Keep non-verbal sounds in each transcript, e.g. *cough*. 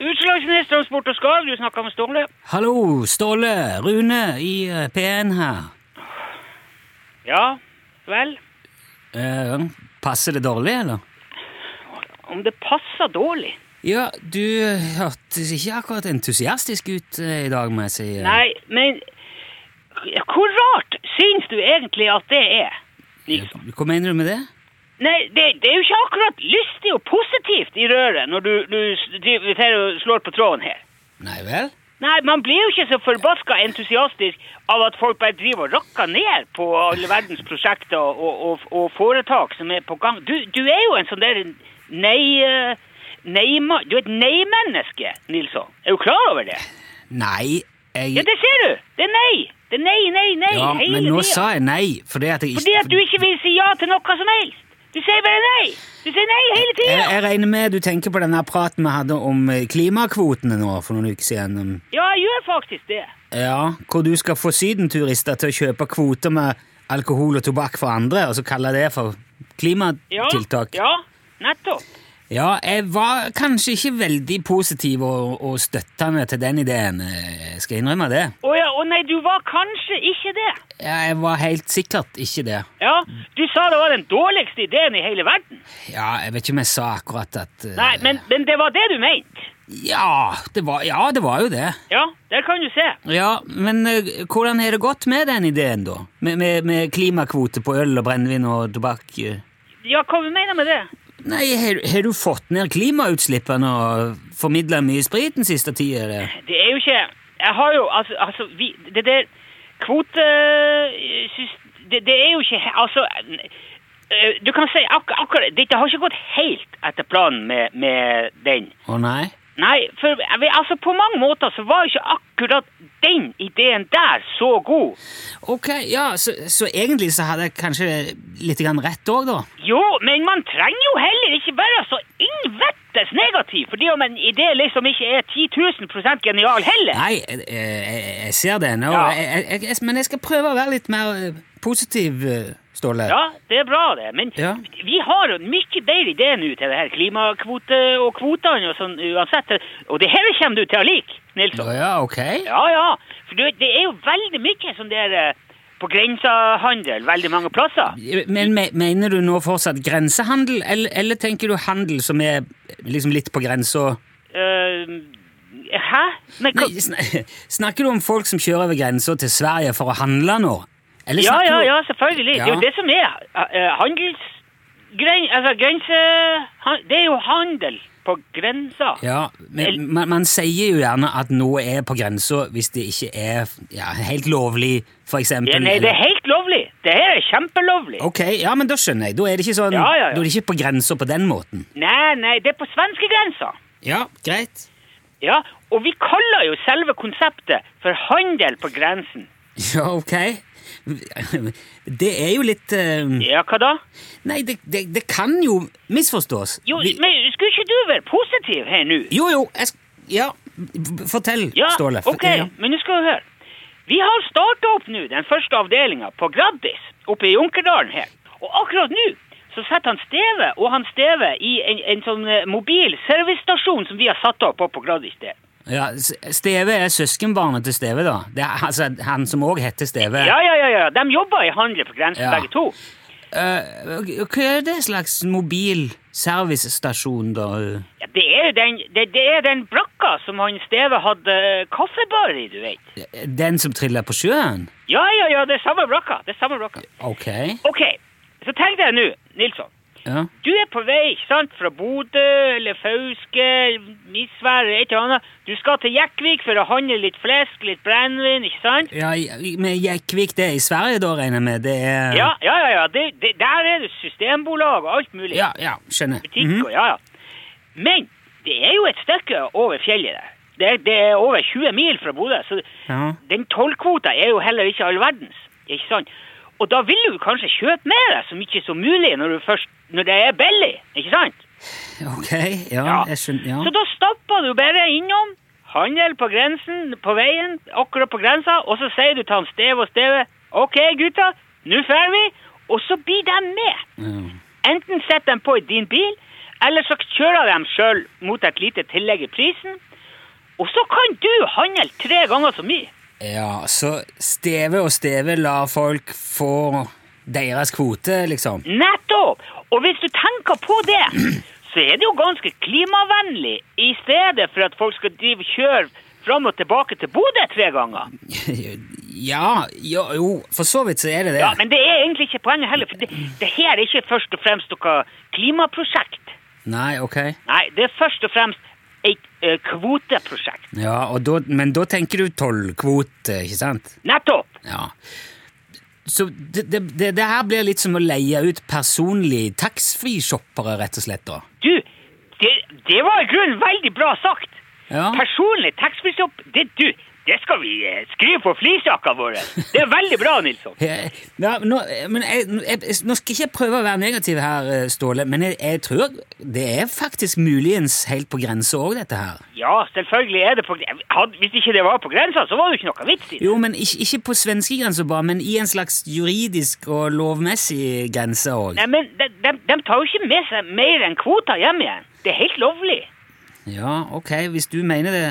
Utslagsnes Transport og Skarv, du snakker med Ståle. Hallo, Ståle, Rune i eh, P1 her. Ja, vel. Eh, passer det dårlig, eller? Om det passer dårlig? Ja, du hørtes ikke akkurat entusiastisk ut eh, i dag, må jeg si. Nei, men Hvor rart syns du egentlig at det er? Liksom. Hva mener du med det? Nei, det, det er jo ikke akkurat lystig og positivt i røret når du, du s- driver til og slår på tråden her. Nei vel? Nei, man blir jo ikke så forbaska entusiastisk av at folk bare driver og rakker ned på alle verdens prosjekter og, og, og foretak som er på gang. Du, du er jo en sånn der nei... eh, nei-ma- du er et nei-menneske, Nilsson. Er du klar over det? Nei, jeg Ja, det ser du! Det er nei! Det er nei, nei, nei Ja, hele men nå tiden. sa jeg nei, fordi at jeg ikke Fordi at du ikke vil si ja til noe som helst! Du sier bare nei! Du sier nei hele tida! jeg, jeg regner med du tenker på denne praten vi hadde om eh, klimakvotene nå for noen uker siden. om- Ja, jeg gjør faktisk det. Ja, hvor du skal få sydenturister til å kjøpe kvoter med alkohol og tobakk for andre, og så kalle det for Ja, klimatiltak. ja nettopp. Ja, jeg var kanskje ikke veldig positiv og, og støttende til den ideen, eh, skal jeg innrømme det. Å ja, å nei, du var kanskje ikke det. Ja, Jeg var helt sikkert ikke det. Ja, du sa det var den dårligste ideen i hele verden. Ja, jeg vet ikke om jeg sa akkurat at eh, Nei, men, men det var det du mente. ja det, var, ja, det var jo det. Ja, der kan du se. Ja, men eh, hvordan har det gått med den ideen, da? Med, med, med klimakvote på øl og brennevin og tobakk? eh? Ja, hva vi mener med det? Nei, har, har du fått ned klimautslippene og formidla mye sprit den siste tida? eller? Det er jo ikke Jeg har jo Altså, altså vi, det der kvotesys... Det, det er jo ikke he- Altså eh, Du kan si ak akkurat Dette har ikke gått helt etter planen med, med den. Å nei? Nei, for jeg vet, altså på mange måter så var jo ikke akkurat den ideen der så god. Ok, ja, så, så egentlig så hadde jeg kanskje litt grann rett òg, da. Jo, men man trenger jo heller ikke være så innvettes negativ, fordi om en idé liksom ikke er 10 000 genial heller. Nei, eh, jeg, jeg ser den, og Ja. jeg, jeg, jeg, men jeg skal prøve å være litt mer eh, positiv, eh, Ståle. Ja, det er bra det, men Ja. vi har jo en mye bedre idé nå til det her klimakvote og kvotene og sånn uansett, og det her kommer du til å like, Nilsson. Å ja, ok. Ja, ja, for du, det er jo veldig mye sånn der eh, på grensehandel, veldig mange plasser. Men me, mener du nå fortsatt grensehandel, eller, eller tenker du handel som er liksom litt på grensa? Eh, hæ? Men, hva- Nei, sn- *laughs* Snakker du om folk som kjører over grensa til Sverige for å handle nå? Eller Ja, snakker ja, du- ja, selvfølgelig. Det er Ja. jo det som er eh, handels... Gren, altså grense... han- Det er jo handel på grensa. Ja, El- men man, man sier jo gjerne at noe er på grensa hvis det ikke er ja, helt lovlig, for eksempel. Ja, nei, det eller- er helt lovlig. Det her er kjempelovlig. Ok, ja, men da skjønner jeg. Da er det ikke sånn, Ja, ja, ja. da er det ikke på grensa på den måten. Nei, nei, det er på svenske grensa. Ja, greit. *laughs* Ja, og vi kaller jo selve konseptet for handel på grensen. Ja, ok. Det er jo litt eh, Ja, hva da? Nei, det, det, det kan jo misforstås. Jo, Vi- men skulle ikke du være positiv her nå? jo, jo, jeg sk... Ja, b- fortell, Ja, Ståle. ok, Ja. men nå skal du høre. Vi har startet opp nå den første avdelingen på Graddis, oppe i Junkerdalen her. Og akkurat nå så setter han Steve og han Steve i en, en sånn eh, mobil servicestasjon som vi har satt opp oppe på Graddis der. Ja, S- Steve er søskenbarnet til Steve, da. Det er, altså, han som òg heter Steve. Ja, ja, ja, ja, de jobber i handel på grensen Ja. begge to. Eh, hva er det slags mobil servicestasjon, da? Ja, det er jo den, det, det er den brakka som han Steve hadde eh, kaffebar i, du vet. Den som triller på sjøen? Ja, ja, ja, det er samme brakka, det er samme brakka. Ok. Ok, så tenk deg nå, Nilsson. Ja. Du er på vei, ikke sant, fra Bodø eller Fauske, Misvær eller et eller annet. Du skal til Jekkvik for å handle litt flesk, litt brennevin, ikke sant? Ja, i- men Jekkvik, det er i Sverige, da, regner jeg med? Det er Ja, ja, ja, ja. Det, det, der er det systembolag og alt mulig. ja, Mhm. ja, skjønner. Butikk og ja, ja. Men det er jo et stykke over fjellet der. Det, er- det er over 20 mil fra Bodø, så Ja. den tollkvota er jo heller ikke all verdens, ikke sant? Og da vil du kanskje kjøpe med deg så mye som mulig når, du først, når det er billig, ikke sant? Ok, ja, Ja. jeg skjønner. Ja. Så da stopper du bare innom, handel på grensen, på veien, akkurat på grensa, og så sier du til han Steve og Steve, ok gutta, nå fer vi, og så blir de med. Ja. Enten setter de på i din bil, eller så kjører de sjøl mot et lite tillegg i prisen, Og så kan du handle tre ganger så mye. Ja, så Steve og Steve lar folk få deres kvote, liksom. *laughs* Nettopp! Og hvis du tenker på det, så er det jo ganske klimavennlig i stedet for at folk skal drive og kjøre fram og tilbake til Bodø tre ganger. Ja, jo, jo, for så vidt så er det det. Ja, Men det er egentlig ikke poenget heller, for det, det her er ikke først og fremst noe klimaprosjekt. Nei, ok. Nei, det er først og fremst et eh, kvoteprosjekt. Ja, og da, men da tenker du tollkvote, ikke sant? Nettopp! Ja. Så det, det, det, det her blir litt som å leie ut personlig taxfree-shoppere, rett og slett, da. Du, det, det var i grunnen veldig bra sagt. Ja. Personlig taxfree-shop, det du, det skal vi eh, skrive på flisjakka våre. Det er veldig bra, Nilsson. Jeg- Ja, men nå, men jeg, jeg, nå skal ikke jeg prøve å være negativ her, eh, Ståle, men jeg, jeg tror det er faktisk muligens helt på grense òg, dette her. Ja, selvfølgelig er det på hadde, Hvis ikke det var på grensa, så var det jo ikke noe vits i det. Jo, men ikke, ikke på svenskegrensa bare, men i en slags juridisk og lovmessig grense òg. Nei, men de, de, de tar jo ikke med seg mer enn kvoter hjem igjen. Det er helt lovlig. Ja, ok, hvis du mener det.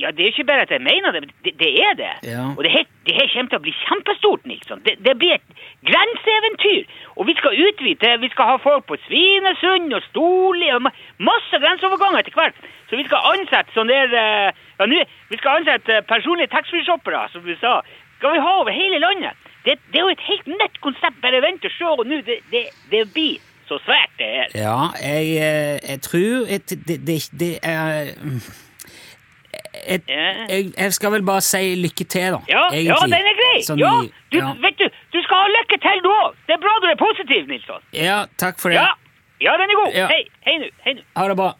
Ja, Det er jo ikke bare at jeg mener det, men det, det er det. Ja. Og det her, det her kommer til å bli kjempestort, Nilsson. Det, det blir et grenseeventyr. Og vi skal utvide. det. Vi skal ha folk på Svinesund og Storli og ma- masse grenseoverganger etter hvert. Så vi skal ansette sånn der eh, Ja, nå Vi skal ansette eh, personlige taxfree-shoppere, som du sa. Skal vi ha over hele landet. Det, det er jo et helt nytt konsept. Bare vent og se og nå. Det, det, det blir så svært, det her. Ja, jeg, eh, jeg tror et, det, det, det er mm, et, Ja. jeg, jeg skal vel bare si lykke til, da. Ja, ja, egentlig. den er grei! Sånn ja, i- du, ja. Vet du, du skal ha lykke til, du òg! Det er bra du er positiv, Nilsson. ja, takk for det. Ja, ja den er god. Ja. Hei, hei nå. Hei nå. Ha det bra.